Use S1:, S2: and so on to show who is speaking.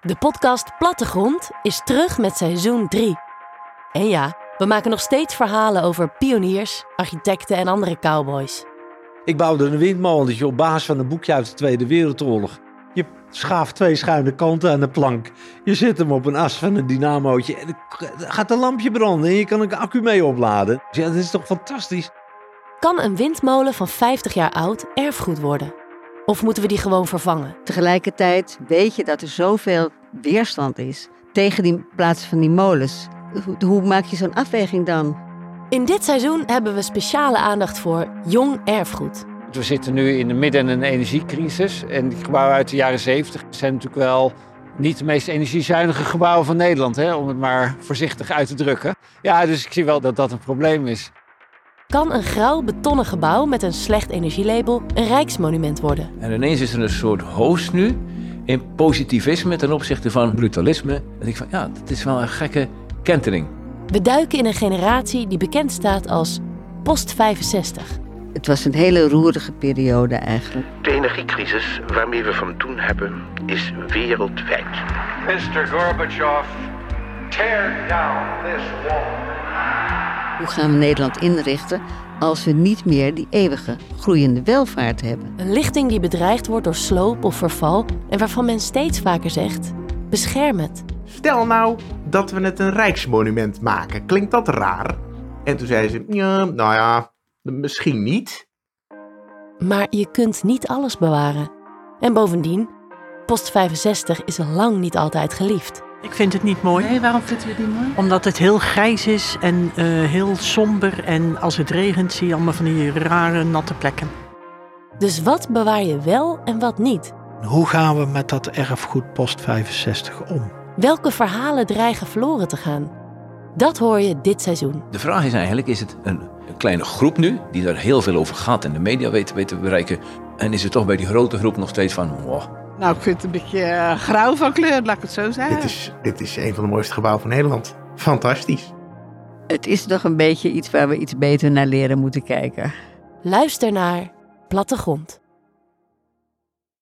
S1: De podcast Plattegrond is terug met seizoen 3. En ja, we maken nog steeds verhalen over pioniers, architecten en andere cowboys.
S2: Ik bouwde een windmolentje op basis van een boekje uit de Tweede Wereldoorlog. Je schaaft twee schuine kanten aan de plank. Je zet hem op een as van een dynamootje en dan gaat een lampje branden en je kan een accu mee opladen. Dus Ja, dat is toch fantastisch?
S1: Kan een windmolen van 50 jaar oud erfgoed worden? Of moeten we die gewoon vervangen?
S3: Tegelijkertijd weet je dat er zoveel weerstand is tegen die plaats van die molens. Hoe, hoe maak je zo'n afweging dan?
S1: In dit seizoen hebben we speciale aandacht voor jong erfgoed.
S4: We zitten nu in de midden in een energiecrisis. En die gebouwen uit de jaren 70 zijn natuurlijk wel niet de meest energiezuinige gebouwen van Nederland. Hè? Om het maar voorzichtig uit te drukken. Ja, dus ik zie wel dat dat een probleem is.
S1: Kan een grauw betonnen gebouw met een slecht energielabel een rijksmonument worden?
S5: En ineens is er een soort host nu in positivisme ten opzichte van brutalisme. En ik van, ja, dat is wel een gekke kentering.
S1: We duiken in een generatie die bekend staat als post 65.
S3: Het was een hele roerige periode eigenlijk.
S6: De energiecrisis waarmee we van doen hebben is wereldwijd.
S7: Mr. Gorbachev, tear down this wall.
S3: Hoe gaan we Nederland inrichten als we niet meer die eeuwige groeiende welvaart hebben?
S1: Een lichting die bedreigd wordt door sloop of verval en waarvan men steeds vaker zegt: bescherm het.
S8: Stel nou dat we het een rijksmonument maken. Klinkt dat raar? En toen zei ze, ja, nou ja, misschien niet.
S1: Maar je kunt niet alles bewaren. En bovendien, post 65 is lang niet altijd geliefd.
S9: Ik vind het niet mooi.
S10: Nee, waarom vindt u het niet mooi?
S9: Omdat het heel grijs is en eh, heel somber. En als het regent zie je allemaal van die rare natte plekken.
S1: Dus wat bewaar je wel en wat niet?
S11: Hoe gaan we met dat erfgoed post 65 om?
S1: Welke verhalen dreigen verloren te gaan? Dat hoor je dit seizoen.
S5: De vraag is eigenlijk, is het een, een kleine groep nu, die daar heel veel over gaat en de media weet, weet te bereiken. En is het toch bij die grote groep nog steeds van, oh,
S10: Nou, ik vind het een beetje eh, grauw van kleur, laat ik het zo
S3: Eh.
S10: zeggen.
S8: Dit, is, dit is een van de mooiste gebouwen van Nederland. Fantastisch.
S3: Het is toch een beetje iets waar we iets beter naar leren moeten kijken.
S1: Luister naar Plattegrond.